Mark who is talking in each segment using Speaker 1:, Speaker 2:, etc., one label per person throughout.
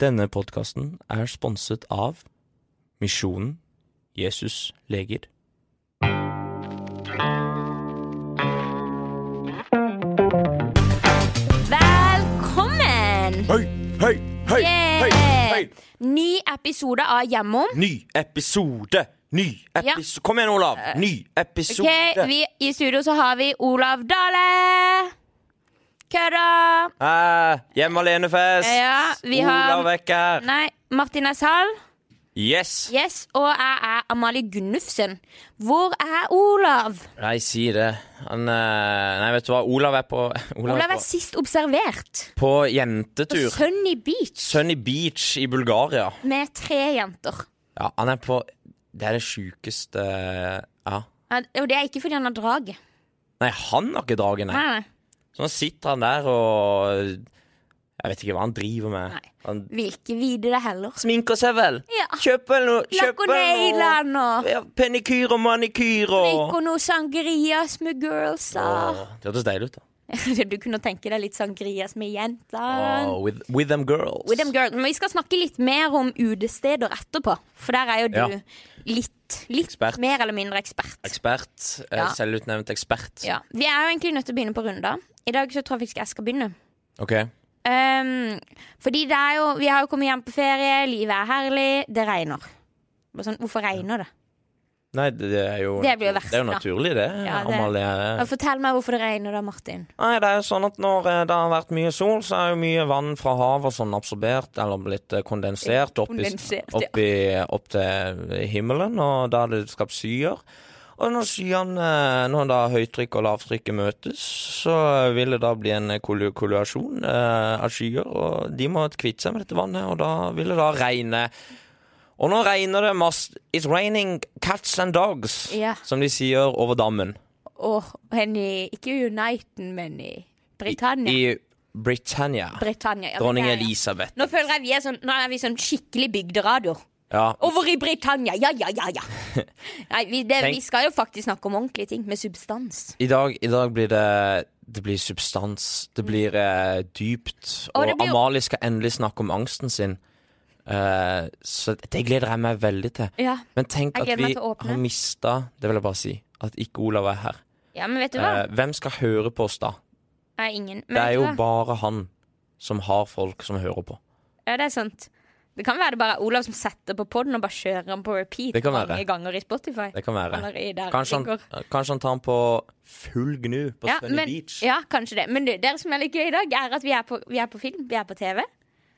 Speaker 1: Denne podkasten er sponset av Misjonen Jesus leger.
Speaker 2: Velkommen!
Speaker 1: Hei, hei, hei, hei,
Speaker 2: Yeah!
Speaker 1: hei!
Speaker 2: Ny episode av Hjemom.
Speaker 1: Ny episode! Ny episode Kom igjen, Olav! Ny episode!
Speaker 2: Eh, Ok, vi, I studio så har vi Olav Dale. Kødda!
Speaker 1: Eh, Hjemme alene-fest!
Speaker 2: Ja, vi har-
Speaker 1: Olav er ikke her!
Speaker 2: Nei, Martin S. Hall.
Speaker 1: Yes!
Speaker 2: Yes, og jeg er Amalie Gunnufsen. Hvor er Olav?
Speaker 1: Nei, si det. Han eh, Nei, vet du hva, Olav er på Olav,
Speaker 2: Olav
Speaker 1: er
Speaker 2: er sist observert
Speaker 1: på, på
Speaker 2: på
Speaker 1: jentetur.
Speaker 2: Sunny Beach
Speaker 1: Sunny Beach i Bulgaria.
Speaker 2: med tre jenter.
Speaker 1: Ja, han er på Det er det sjukeste eh, Ja.
Speaker 2: Ja, Og det er ikke fordi han har draget.
Speaker 1: Nei, han har ikke dragen, nei.
Speaker 2: Nei, nei.
Speaker 1: Så nå sitter han der og Jeg vet ikke hva han driver med.
Speaker 2: Nei.
Speaker 1: Han
Speaker 2: Vil ikke vite det heller.
Speaker 1: sminker seg vel.
Speaker 2: Ja.
Speaker 1: Kjøper noe kjøper noe-
Speaker 2: Lakoneiland og
Speaker 1: ja, Penikyr og manikyr og
Speaker 2: Mykonos Sangrias med girlsa.
Speaker 1: Åh, Det hørtes deilig ut, da.
Speaker 2: Du kunne tenke deg litt Sangrias med jenter.
Speaker 1: Åh, with, with them girls.
Speaker 2: With them girls. Men vi skal snakke litt mer om utesteder etterpå, for der er jo du
Speaker 1: Ja.
Speaker 2: litt, litt
Speaker 1: Ekspert.
Speaker 2: mer eller mindre ekspert.
Speaker 1: Ekspert. eh,
Speaker 2: Ja.
Speaker 1: Selvutnevnt ekspert.
Speaker 2: Ja. Vi er jo egentlig nødt til å begynne på runder. I dag så tror jeg faktisk jeg skal begynne.
Speaker 1: OK.
Speaker 2: Ehm, fordi det er jo, vi har jo kommet hjem på ferie, livet er herlig, det regner. Bare Sånn, hvorfor regner det?
Speaker 1: Nei, det, det er jo
Speaker 2: Det blir jo
Speaker 1: natur-
Speaker 2: verst,
Speaker 1: det er jo
Speaker 2: da.
Speaker 1: naturlig, det.
Speaker 2: Ja, det-
Speaker 1: Amalie.
Speaker 2: Ja, Fortell meg hvorfor det regner da, Martin.
Speaker 1: Nei, det er jo sånn at når eh, det har vært mye sol, så er jo mye vann fra havet sånn absorbert eller blitt eh, kondensert opp,
Speaker 2: Kondensert,
Speaker 1: i, opp, i, opp til himmelen, og da har det skapt skyer. Og når skyene, eh, når da høytrykk og lavtrykket møtes, så vil det da bli en kollu- kollasjon eh, av skyer, og de må kvitte seg med dette vannet, og da vil det da regne. Og nå regner det mest It's raining cats and dogs,
Speaker 2: Ja.
Speaker 1: som de sier over dammen.
Speaker 2: Åh, hen i, ikke i Uniten, men i Britannia.
Speaker 1: I, i Britannia.
Speaker 2: Britannia. ja,
Speaker 1: Dronning
Speaker 2: det er-
Speaker 1: Elisabeth.
Speaker 2: Nå føler jeg vi er sånn, nå er vi sånn skikkelig bygderadio.
Speaker 1: Ja.
Speaker 2: Over i Britannia, ja, ja, ja, ja. Nei, vi, det,
Speaker 1: Tenk-
Speaker 2: vi skal jo faktisk snakke om ordentlige ting, med substans.
Speaker 1: I dag, I dag blir det det blir substans, det blir eh, dypt.
Speaker 2: Og
Speaker 1: Og,
Speaker 2: Mm. det blir jo-
Speaker 1: Amalie skal endelig snakke om angsten sin. Eh, så det gleder jeg meg veldig til.
Speaker 2: Ja.
Speaker 1: Men tenk
Speaker 2: Jeg
Speaker 1: at
Speaker 2: gleder
Speaker 1: vi
Speaker 2: meg til å åpne.
Speaker 1: har mista Det vil jeg bare si. At ikke Olav er her.
Speaker 2: ja, men vet du hva?
Speaker 1: Eh, hvem skal høre på oss da?
Speaker 2: Nei, ingen.
Speaker 1: Det
Speaker 2: Men vet
Speaker 1: er
Speaker 2: du
Speaker 1: jo
Speaker 2: hva?
Speaker 1: bare han som har folk som hører på.
Speaker 2: Ja, det er sant. Det kan være det bare er Olav som setter på podden og bare kjører den på repeat
Speaker 1: Det kan være.
Speaker 2: mange ganger i Spotify.
Speaker 1: Det kan være.
Speaker 2: Eller i der
Speaker 1: Kanskje
Speaker 2: det
Speaker 1: han,
Speaker 2: går.
Speaker 1: kanskje han tar han på full gnu på
Speaker 2: ja,
Speaker 1: Sunny
Speaker 2: men,
Speaker 1: Beach.
Speaker 2: ja, kanskje det. Men du, det som er litt gøy i dag, er at vi er på, vi er på film. Vi er på TV.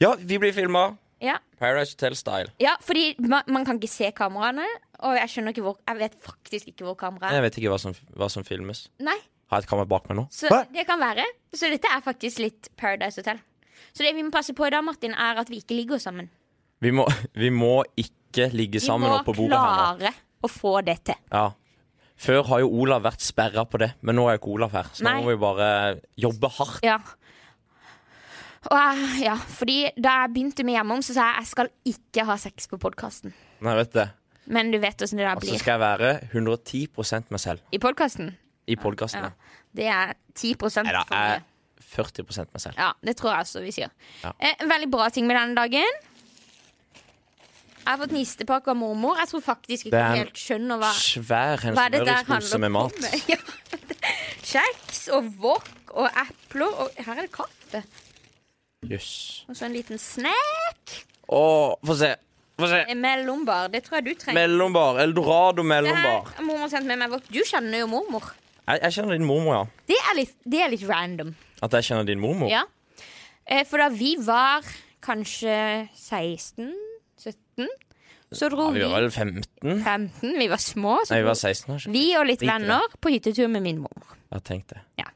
Speaker 1: Ja, vi blir filma.
Speaker 2: Ja,
Speaker 1: Paradise Hotel-style.
Speaker 2: ja fordi man, man kan ikke se kameraene. Og jeg skjønner ikke hvor Jeg vet faktisk ikke hvor kameraet er.
Speaker 1: Jeg vet ikke hva som, hva som filmes.
Speaker 2: Nei.
Speaker 1: Har jeg et kamera bak meg nå?
Speaker 2: Så
Speaker 1: Hæ?
Speaker 2: det kan være. Så dette er faktisk litt Paradise Hotel. Så det vi må passe på i dag, Martin, er at vi ikke ligger sammen.
Speaker 1: Vi må, vi må ikke ligge
Speaker 2: Vi
Speaker 1: sammen
Speaker 2: må
Speaker 1: oppe på bordet her nå.
Speaker 2: klare å få det til.
Speaker 1: Ja. Før har jo Olav vært sperra på det, men nå er jo ikke Olav her. Så
Speaker 2: Nei.
Speaker 1: nå må vi bare jobbe hardt.
Speaker 2: Ja. Og jeg, ja, fordi da jeg begynte med Hjemom, så sa jeg jeg skal ikke ha sex på podkasten.
Speaker 1: Nei, vet du.
Speaker 2: Men du vet åssen det der
Speaker 1: Og så
Speaker 2: blir
Speaker 1: skal jeg være 110 meg selv
Speaker 2: i podkasten.
Speaker 1: i podkastene.
Speaker 2: Ja. Det er 10 for
Speaker 1: Nei da,
Speaker 2: mye.
Speaker 1: jeg er 40 meg selv.
Speaker 2: Ja, det tror jeg også vi sier.
Speaker 1: eh. Ja.
Speaker 2: Eh, veldig bra ting med denne dagen. Jeg har fått nistepakke av mormor. Jeg tror faktisk
Speaker 1: Det
Speaker 2: ikke
Speaker 1: er en
Speaker 2: helt skjønner hva
Speaker 1: Svær en
Speaker 2: Hva er det der
Speaker 1: smørrispølse
Speaker 2: handler
Speaker 1: med mat.
Speaker 2: om? Ja. Kjeks og wok og epler. Og her er det kaffe.
Speaker 1: Jøss.
Speaker 2: Og så en liten snack
Speaker 1: Å, få se. Få se.
Speaker 2: mellombar. Det tror jeg du trenger.
Speaker 1: Mellombar. Eldorado
Speaker 2: Det her
Speaker 1: mellombar.
Speaker 2: har mormor sendt med meg wok. Du kjenner jo mormor.
Speaker 1: Jeg, jeg kjenner din mormor, ja.
Speaker 2: Det er litt, det er litt random.
Speaker 1: At jeg kjenner din mormor.
Speaker 2: Ja. Eh, For da vi var kanskje 16-17, så dro
Speaker 1: Ja, vi
Speaker 2: vi
Speaker 1: var vel 15?
Speaker 2: 15. Vi var små. Så
Speaker 1: Nei, vi
Speaker 2: dro
Speaker 1: var 16 kanskje.
Speaker 2: vi og litt
Speaker 1: Drit i det.
Speaker 2: venner på hyttetur med min mormor.
Speaker 1: Ja, tenk det.
Speaker 2: Ja.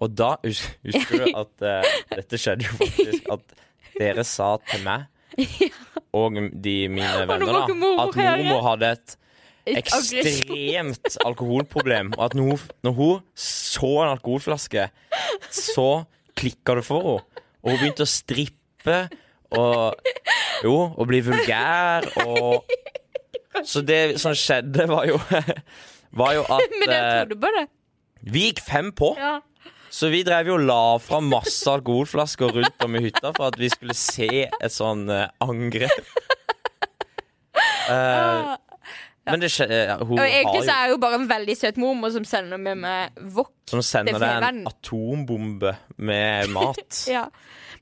Speaker 1: Og da hus husker du at eh, Dette skjedde jo faktisk at dere sa til meg og de mine
Speaker 2: nå
Speaker 1: venner
Speaker 2: må
Speaker 1: da,
Speaker 2: ikke mormor
Speaker 1: at mormor
Speaker 2: høre.
Speaker 1: hadde et
Speaker 2: Aggresjon.
Speaker 1: ekstremt alkoholproblem. Og at når hun, når hun så en alkoholflaske, så klikka det for henne. Og hun begynte å strippe og Jo, og bli vulgær og Så det som skjedde, var jo Var jo at
Speaker 2: Men jeg
Speaker 1: eh,
Speaker 2: trodde på det.
Speaker 1: vi gikk fem på.
Speaker 2: Ja.
Speaker 1: Så vi drev jo og la fra masse alkoholflasker rundt om i hytta for at vi skulle se et sånn eh, angrep. Eh, men det skje... eh, Hun
Speaker 2: Og
Speaker 1: har
Speaker 2: egentlig
Speaker 1: jo
Speaker 2: så er jeg jo bare en veldig søt mormor som sender med meg wok.
Speaker 1: Som sender
Speaker 2: det er
Speaker 1: deg en
Speaker 2: feven.
Speaker 1: atombombe med mat.
Speaker 2: Ja.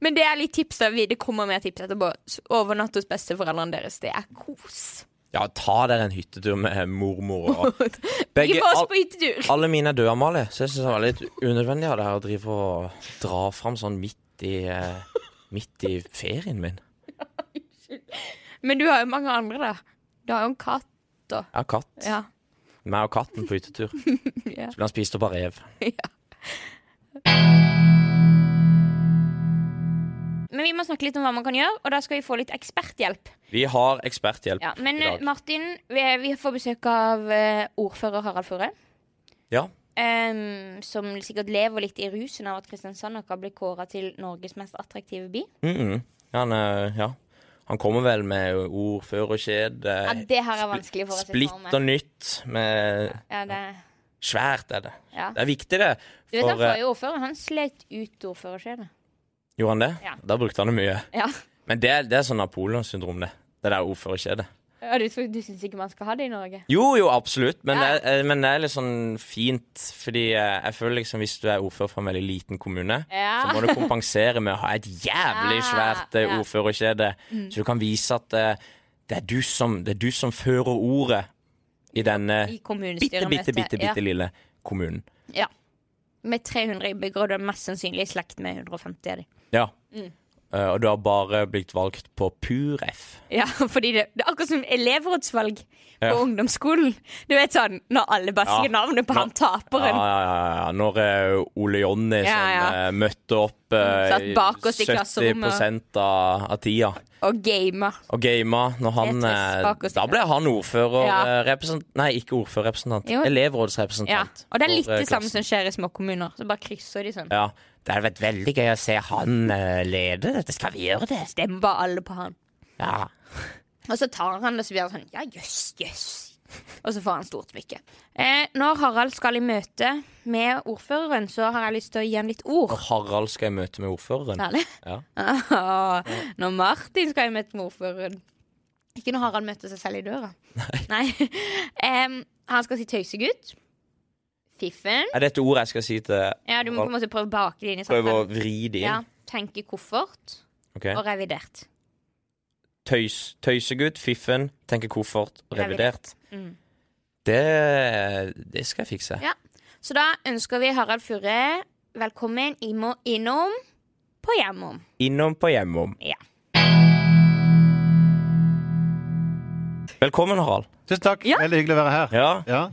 Speaker 2: Men det er litt tips. da vi- Det kommer mer tips etterpå. S- Overnatt hos besteforeldrene deres. Det er kos.
Speaker 1: Ja, ta dere en hyttetur med mormor og
Speaker 2: Ikke
Speaker 1: Begge,
Speaker 2: få oss
Speaker 1: al
Speaker 2: på hyttetur!
Speaker 1: alle mine er døde, Amalie, så jeg syns det var litt unødvendig av deg å drive og dra fram sånn midt i, eh, midt i ferien min.
Speaker 2: Men du har jo mange andre, da. Du har jo en katt.
Speaker 1: Jeg har katt.
Speaker 2: Ja.
Speaker 1: Meg og katten på hyttetur.
Speaker 2: Ja.
Speaker 1: Så ble han spist opp av rev.
Speaker 2: Men vi må snakke litt om hva man kan gjøre, og da skal vi få litt eksperthjelp.
Speaker 1: Vi har eksperthjelp
Speaker 2: Ja, men
Speaker 1: i
Speaker 2: eh,
Speaker 1: dag.
Speaker 2: Martin, vi, vi får besøk av eh, ordfører Harald Furre.
Speaker 1: Ja.
Speaker 2: Em, som sikkert lever litt i rusen av at Kristiansand nok har blitt kåra til Norges mest attraktive by.
Speaker 1: Mm -mm. Han, eh, ja. han kommer vel med ordførerkjed.
Speaker 2: Ja,
Speaker 1: eh,
Speaker 2: det her er vanskelig for oss å sånn, se
Speaker 1: Splitt og
Speaker 2: for meg.
Speaker 1: nytt. Med
Speaker 2: Ja, det,
Speaker 1: svært er det.
Speaker 2: ja.
Speaker 1: Det er viktig, det.
Speaker 2: Du vet
Speaker 1: For, eh,
Speaker 2: han forrige ordfører, han slet ut ordførerskjedet.
Speaker 1: Gjorde han det?
Speaker 2: Ja.
Speaker 1: Da brukte han det mye.
Speaker 2: Ja.
Speaker 1: Men det, er- det er sånn Napoleon-syndrom, det. Det der ordførerkjedet.
Speaker 2: Ja, du, du syns ikke man skal ha det i Norge?
Speaker 1: Jo, jo, absolutt, men,
Speaker 2: Ja.
Speaker 1: det, er, men det er litt sånn fint, fordi eh, jeg føler liksom hvis du er ordfører for en veldig liten kommune, så
Speaker 2: Ja.
Speaker 1: må du kompensere med å ha et jævlig
Speaker 2: Ja,
Speaker 1: svært eh,
Speaker 2: ja. Mm.
Speaker 1: ordførerkjede. Så du kan vise at eh, det, er du som, det er du som fører ordet i denne
Speaker 2: I
Speaker 1: bitte,
Speaker 2: kommunestyremøtet.
Speaker 1: bitte, bitte, bitte lille kommunen.
Speaker 2: Ja. ja. Med 300 innbyggere, og du er mest sannsynlig i slekt med 150 av dem.
Speaker 1: Ja.
Speaker 2: Mm.
Speaker 1: Eh, og du har bare blitt valgt på pur F.
Speaker 2: Ja, fordi det, det er akkurat som elevrådsvalg på
Speaker 1: Ja.
Speaker 2: ungdomsskolen. Du vet sånn, Når alle bare sier
Speaker 1: Ja.
Speaker 2: navnet på
Speaker 1: Nå-
Speaker 2: han
Speaker 1: Ja,
Speaker 2: taperen.
Speaker 1: ja, ja, ja. Når eh, Ole Jonny
Speaker 2: Ja,
Speaker 1: som
Speaker 2: ja.
Speaker 1: eh, møtte opp eh,
Speaker 2: Satt bak oss i klasserommet.
Speaker 1: 70 av, av tida
Speaker 2: Og gamer.
Speaker 1: og gama når han
Speaker 2: Tetris
Speaker 1: eh,
Speaker 2: bak oss i
Speaker 1: Da ble han ordfører
Speaker 2: Ja.
Speaker 1: eh, represent- Nei, ikke ordførerrepresentant.
Speaker 2: Jo. Ja.
Speaker 1: Elevrådsrepresentant.
Speaker 2: Og det er litt
Speaker 1: for, eh,
Speaker 2: det samme
Speaker 1: klassen.
Speaker 2: som skjer i småkommuner. Så bare krysser de sånn.
Speaker 1: Ja, det hadde vært veldig gøy å se han eh, lede dette. Skal vi gjøre det?
Speaker 2: Stemmer bare alle på han.
Speaker 1: Ja.
Speaker 2: Og så tar han det, så blir han sånn Ja, jøss, jøss. Og så får han stort smykke. Eh, når Harald skal i møte med ordføreren, så har jeg lyst til å gi ham litt ord.
Speaker 1: Når Harald skal jeg møte med ordføreren.
Speaker 2: Herlig.
Speaker 1: Ja.
Speaker 2: Ah, Når Martin skal i møte med ordføreren. Ikke når Harald møter seg selv i døra. Nei. Em, han skal si tøysegutt. Fiffen.
Speaker 1: Er det et ord jeg skal si til
Speaker 2: Ja, du må på en måte prøve å bake det inn i
Speaker 1: Prøve å
Speaker 2: samtalen.
Speaker 1: vri det
Speaker 2: Ja,
Speaker 1: inn.
Speaker 2: tenke koffert
Speaker 1: Ok.
Speaker 2: og revidert.
Speaker 1: Tøys, tøysegutt, fiffen, tenke koffert, revidert.
Speaker 2: Mm.
Speaker 1: Det, det skal jeg fikse.
Speaker 2: Ja. Så da ønsker vi Harald Furre velkommen imo- innom på hjemom.
Speaker 1: Innom på hjemom.
Speaker 2: Ja.
Speaker 1: Velkommen, Harald.
Speaker 3: Tusen takk.
Speaker 2: Ja.
Speaker 3: Veldig hyggelig å være her.
Speaker 1: Ja.
Speaker 3: Ja.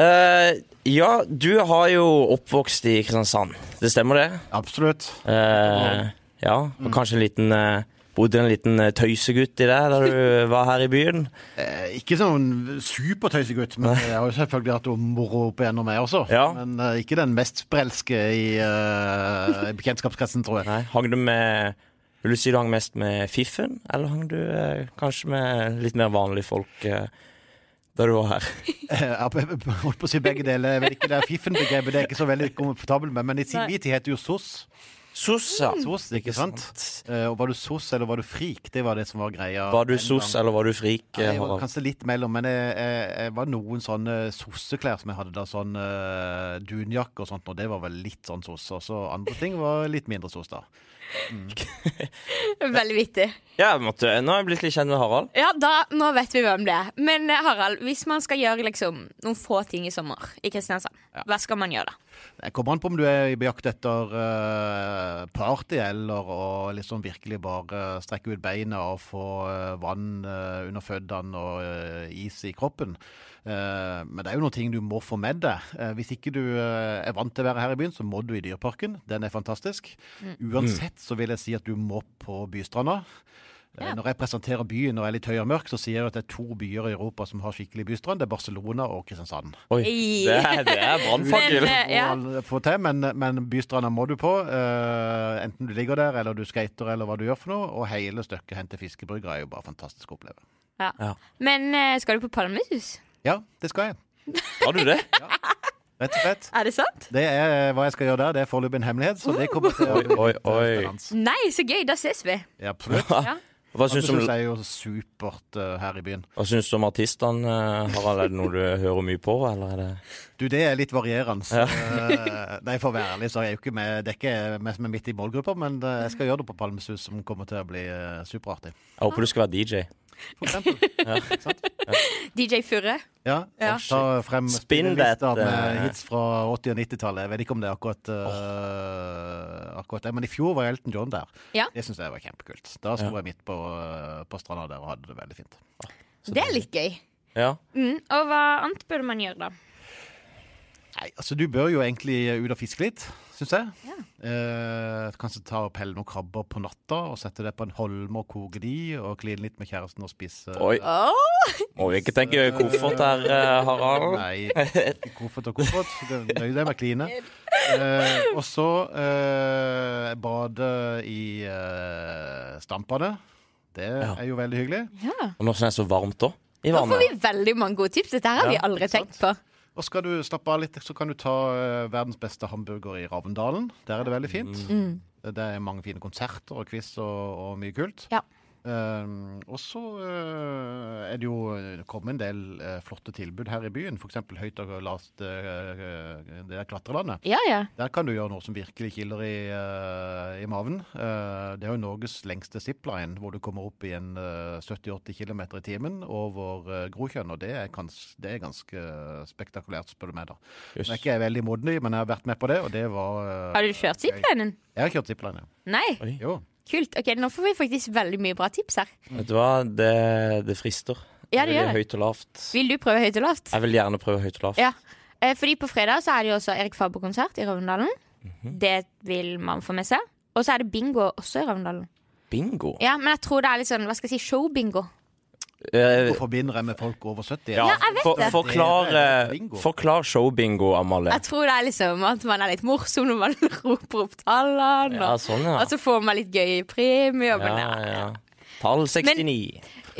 Speaker 1: Eh, ja, du har jo oppvokst i Kristiansand. Det stemmer, det?
Speaker 3: absolutt.
Speaker 1: Eh, ja, og kanskje en liten eh, Bodde en liten eh, tøysegutt i deg da du var her i byen?
Speaker 3: Eh, ikke sånn supertøysegutt, men jeg har jo selvfølgelig hatt moro opp igjennom, jeg også.
Speaker 1: Ja.
Speaker 3: Men eh, ikke den mest sprelske i, eh, i bekjentskapskretsen, tror jeg.
Speaker 1: Nei, Hang du med Vil du si du hang mest med fiffen, eller hang du eh, kanskje med litt mer vanlige folk eh, da du var her?
Speaker 3: Eh, Jeg holdt på å si begge deler. Jeg vet ikke, Det er fiffen-begrepet det er jeg ikke så veldig komfortabel med, men i sin
Speaker 2: Nei.
Speaker 3: tid het det jo SOS.
Speaker 1: Sos, ja.
Speaker 3: SOS, ikke sant? Eh, Og var du SOS eller var du frik? Det var det som var greia.
Speaker 1: Var du
Speaker 3: den
Speaker 1: sos,
Speaker 3: gang.
Speaker 1: eller var du frik?
Speaker 3: Ja,
Speaker 1: eh,
Speaker 3: Jeg var
Speaker 1: Harald?
Speaker 3: kanskje litt mellom, men jeg, jeg, jeg var noen sånne sosseklær som jeg hadde da, sånn eh, dunjakke og sånt, og det var vel litt sånn sosse, og så andre ting var litt mindre sos da.
Speaker 2: Veldig vittig.
Speaker 1: Ja, jeg måtte, nå har jeg blitt litt kjent med Harald.
Speaker 2: Ja, da, nå vet vi hvem det er. Men eh, Harald, hvis man skal gjøre liksom, noen få ting i sommer i Kristiansand, hva skal man gjøre da?
Speaker 3: Jeg kommer an på om du er på jakt etter eh, party, eller å liksom virkelig bare strekke ut beina og få eh, vann eh, under føddene og eh, is i kroppen. Eh, men det er jo noen ting du må få med deg. Eh, hvis ikke du eh, er vant til å være her i byen, så må du i Dyreparken. Den er fantastisk. Uansett så vil jeg si at du må på Bystranda. Eh,
Speaker 2: Ja.
Speaker 3: Når jeg presenterer byen og er litt høy og mørk, så sier jeg at det er to byer i Europa som har skikkelig bystrand. Det er Barcelona og Kristiansand.
Speaker 1: Oi,
Speaker 2: Ei.
Speaker 1: det, er- det er brannfakkel.
Speaker 2: Men, eh, ja.
Speaker 3: Og få til, men, men bystranda må du på. eh, enten du ligger der, eller du skater, eller hva du gjør for noe. Og hele stykket hen til fiskebrygga er jo bare fantastisk å oppleve.
Speaker 2: Ja.
Speaker 1: Ja.
Speaker 2: Men eh, skal du på Palmesus?
Speaker 3: Ja, det skal jeg.
Speaker 1: Har du det?
Speaker 3: Rett og slett.
Speaker 2: Er det sant?
Speaker 3: Det er eh, hva jeg skal gjøre der. Det er foreløpig en hemmelighet, så det kommer til å
Speaker 1: Oi,
Speaker 3: bli
Speaker 1: oi,
Speaker 3: litt, eh,
Speaker 1: oi.
Speaker 3: spennende.
Speaker 2: Nei, så gøy. Da ses vi.
Speaker 3: Ja, absolutt.
Speaker 2: Ja.
Speaker 1: Hva
Speaker 3: Det
Speaker 1: syns du om,
Speaker 3: syns jeg er jo supert eh, her i byen.
Speaker 1: hva syns du om artistene, eh, Harald? Er det noe du hører mye på, eller er det
Speaker 3: Du, det er litt varierende. Eh, Nei, for å være ærlig, så er jeg jo ikke med. Det er ikke meg som er midt i målgruppa, men eh, jeg skal gjøre det på Palmesus, som kommer til å bli eh, superartig.
Speaker 1: Jeg håper du skal være DJ.
Speaker 3: For eksempel. Ikke sant?
Speaker 2: DJ Furre.
Speaker 3: Ja.
Speaker 2: Ja.
Speaker 3: Ta frem
Speaker 1: Spinn
Speaker 3: spillelister
Speaker 1: dette.
Speaker 3: med hits fra 80- og 90-tallet. Jeg vet ikke om det er akkurat, eh, akkurat det, men i fjor var Elton John der.
Speaker 2: Ja.
Speaker 3: Det syns jeg var kjempekult. Da sto jeg midt på, eh, på stranda der og hadde det veldig fint.
Speaker 2: Det er litt gøy.
Speaker 1: Ja.
Speaker 2: Mm. Og hva annet burde man gjøre, da?
Speaker 3: Nei, altså Du bør jo egentlig ut og fiske litt, syns jeg.
Speaker 2: Ja.
Speaker 3: Eh, kanskje ta og pelle noen krabber på natta og sette det på en holme og koke de, og kline litt med kjæresten og spise
Speaker 1: Oi. Må vi ikke tenke koffert her, eh, Harald?
Speaker 3: Nei, ikke koffert og koffert. Det det er jo det med kline. Eh, og så eh, bade i eh, stampene. Det
Speaker 1: Ja.
Speaker 3: er jo veldig hyggelig.
Speaker 2: Ja.
Speaker 1: Og nå som det er så varmt òg, i
Speaker 2: Nå får vi
Speaker 1: vannet.
Speaker 2: veldig mange gode tips. Dette her
Speaker 1: Ja,
Speaker 2: har vi aldri
Speaker 3: ikke sant?
Speaker 2: tenkt på.
Speaker 3: Og skal du slappe av litt, så kan du ta eh, verdens beste hamburger i Ravndalen. Der er det veldig fint.
Speaker 2: Mm.
Speaker 3: Det er mange fine konserter og quiz og, og mye kult.
Speaker 2: Ja.
Speaker 3: Ehm, og så eh, er det jo det kommet en del eh, flotte tilbud her i byen. F.eks. høyt og lavt eh, eh, det der klatrelandet.
Speaker 2: Ja, ja.
Speaker 3: Der kan du gjøre noe som virkelig kilder i, eh, i maven. Eh, det er jo Norges lengste zipline, hvor du kommer opp i en eh, 70-80 km i timen over uh, Grokjønn. Og det er, kans- det er ganske spektakulært, spør du meg. da.
Speaker 1: Jøss.
Speaker 3: Det er ikke jeg veldig moden i, men jeg har vært med på det, og det var eh,
Speaker 2: Har du kjørt ziplinen?
Speaker 3: Jeg har kjørt zipline, ja.
Speaker 2: Nei?
Speaker 1: Oi.
Speaker 3: Jo.
Speaker 2: Kult. Ok, Nå får vi faktisk veldig mye bra tips her.
Speaker 1: Vet du hva, det, det frister.
Speaker 2: Ja, det gjør det.
Speaker 1: Høyt og lavt.
Speaker 2: Vil du prøve høyt og lavt?
Speaker 1: Jeg vil gjerne prøve høyt og lavt.
Speaker 2: Ja. Eh, Fordi på fredag så er det jo også Erik Faber-konsert i Ravndalen.
Speaker 1: Mhm.
Speaker 2: Det vil man få med seg. Og så er det bingo også i Ravndalen.
Speaker 1: Bingo.
Speaker 2: Ja, men jeg tror det er litt sånn, hva skal jeg si, showbingo.
Speaker 1: Eh,
Speaker 3: Hvorfor forbinder jeg med folk over 70?
Speaker 1: ja,
Speaker 2: Ja, jeg vet
Speaker 1: for,
Speaker 2: det.
Speaker 1: forklar,
Speaker 3: Det er
Speaker 1: eh,
Speaker 3: bingo.
Speaker 1: forklar showbingo, Amalie.
Speaker 2: Jeg tror det er liksom at man er litt morsom når man roper opp tallene.
Speaker 1: Ja,
Speaker 2: Og,
Speaker 1: sånn, ja.
Speaker 2: og så får man litt gøy premie.
Speaker 1: ja,
Speaker 2: Men,
Speaker 1: ja. Tall 69.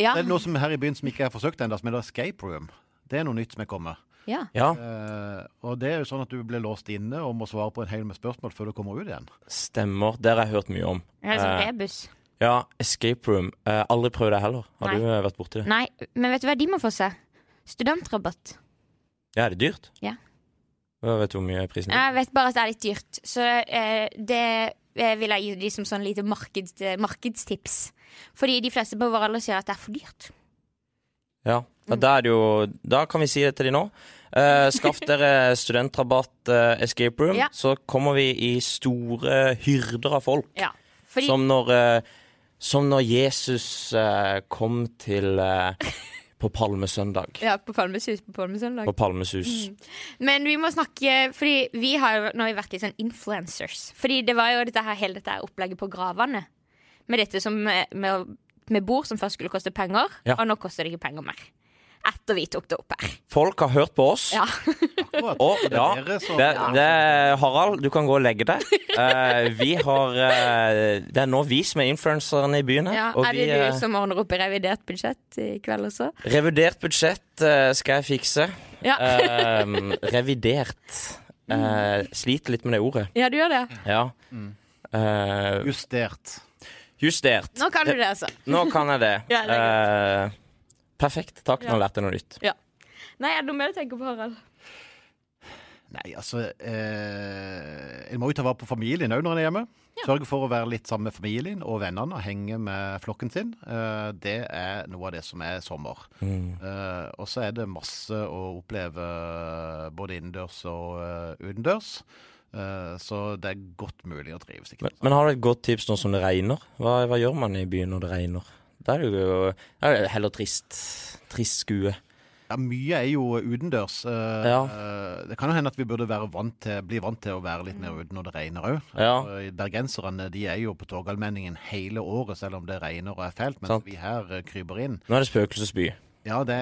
Speaker 2: ja.
Speaker 3: Det er noe som her i byen som ikke er forsøkt ennå, som heter escape room. Det er noe nytt som er kommet.
Speaker 2: ja.
Speaker 1: Ja,
Speaker 3: Eh, og det er jo sånn at du blir låst inne og må svare på en hel med spørsmål før du kommer ut igjen.
Speaker 1: stemmer. Det har jeg hørt mye om.
Speaker 2: Det er sånn
Speaker 1: Eh,
Speaker 2: rebus.
Speaker 1: ja, Escape Room. Eh, aldri prøvd det heller. Har
Speaker 2: Nei.
Speaker 1: du eh, vært borti det?
Speaker 2: Nei, men vet du hva de må få seg? Studentrabatt.
Speaker 1: Ja, er det dyrt?
Speaker 2: Ja. Eh,
Speaker 1: Ja, Vet du hvor mye prisen er?
Speaker 2: Jeg vet bare at det er litt dyrt, så eh, det eh, vil jeg gi de som sånn lite markeds, eh, markedstips. Fordi de fleste på vår alder sier at det er for dyrt.
Speaker 1: Ja.
Speaker 2: mm.
Speaker 1: ja da, er det jo, da kan vi si det til de nå. Eh, skaff dere studentrabatt eh, Escape Room,
Speaker 2: Ja.
Speaker 1: så kommer vi i store hyrder av folk.
Speaker 2: Ja. Fordi,
Speaker 1: Som når, eh, som når Jesus eh, kom til eh, På Palmesøndag.
Speaker 2: ja, på Palmesus på Palmesøndag.
Speaker 1: På Palmesus.
Speaker 2: Mm. Men vi må snakke Fordi vi har jo nå har vi vært litt sånn influencers. Fordi det var jo dette her, hele dette her opplegget på gravene. Med dette som eh, med, å- med bord som først skulle koste penger,
Speaker 1: Ja.
Speaker 2: og nå koster det ikke penger mer. Etter vi tok det opp her.
Speaker 1: Folk har hørt på oss.
Speaker 2: Ja.
Speaker 3: Akkurat.
Speaker 1: Og
Speaker 3: Det er
Speaker 1: ja,
Speaker 3: dere som-
Speaker 1: det, det, Harald, du kan gå og legge deg. Eh, vi har eh, Det er nå vi som er influenserne i byen her.
Speaker 2: Ja,
Speaker 1: og
Speaker 2: er det
Speaker 1: vi, eh,
Speaker 2: du som ordner opp i revidert budsjett i kveld også?
Speaker 1: Revidert budsjett eh, skal jeg fikse.
Speaker 2: Ja,
Speaker 1: Eh, revidert. Eh, sliter litt med det ordet.
Speaker 2: ja du gjør det?
Speaker 1: Ja. Eh,
Speaker 3: Justert.
Speaker 1: justert.
Speaker 2: Nå kan du det, altså.
Speaker 1: Nå kan jeg det.
Speaker 2: Ja, det
Speaker 1: Eh, perfekt. Takk, nå lærte jeg noe nytt.
Speaker 2: Nei, er det noe mer du tenker på, Harald?
Speaker 3: Nei, altså eh, En må jo ta vare på familien òg når en er hjemme. Sørge for å være litt sammen med familien og vennene og henge med flokken sin. Eh, det er noe av det som er sommer.
Speaker 1: Mm.
Speaker 3: Eh, og så er det masse å oppleve eh, både innendørs og eh, utendørs. Eh, så det er godt mulig å trives. Ikke?
Speaker 1: Men,
Speaker 3: sant?
Speaker 1: men har du et godt tips nå som det regner? Hva, hva gjør man i byen når det regner? Da er det jo da er det heller trist. Trist skue.
Speaker 3: Ja, mye er jo utendørs. Eh,
Speaker 1: Ja.
Speaker 3: eh, det kan jo hende at vi burde være vant til, bli vant til å være litt mer ute når det regner òg.
Speaker 1: Ja.
Speaker 3: Eh, Bergenserne de er jo på Torgallmenningen hele året, selv om det regner og er fælt. Mens
Speaker 1: Sant.
Speaker 3: vi her eh, kryper inn.
Speaker 1: Nå er det spøkelsesby.
Speaker 3: Ja, det,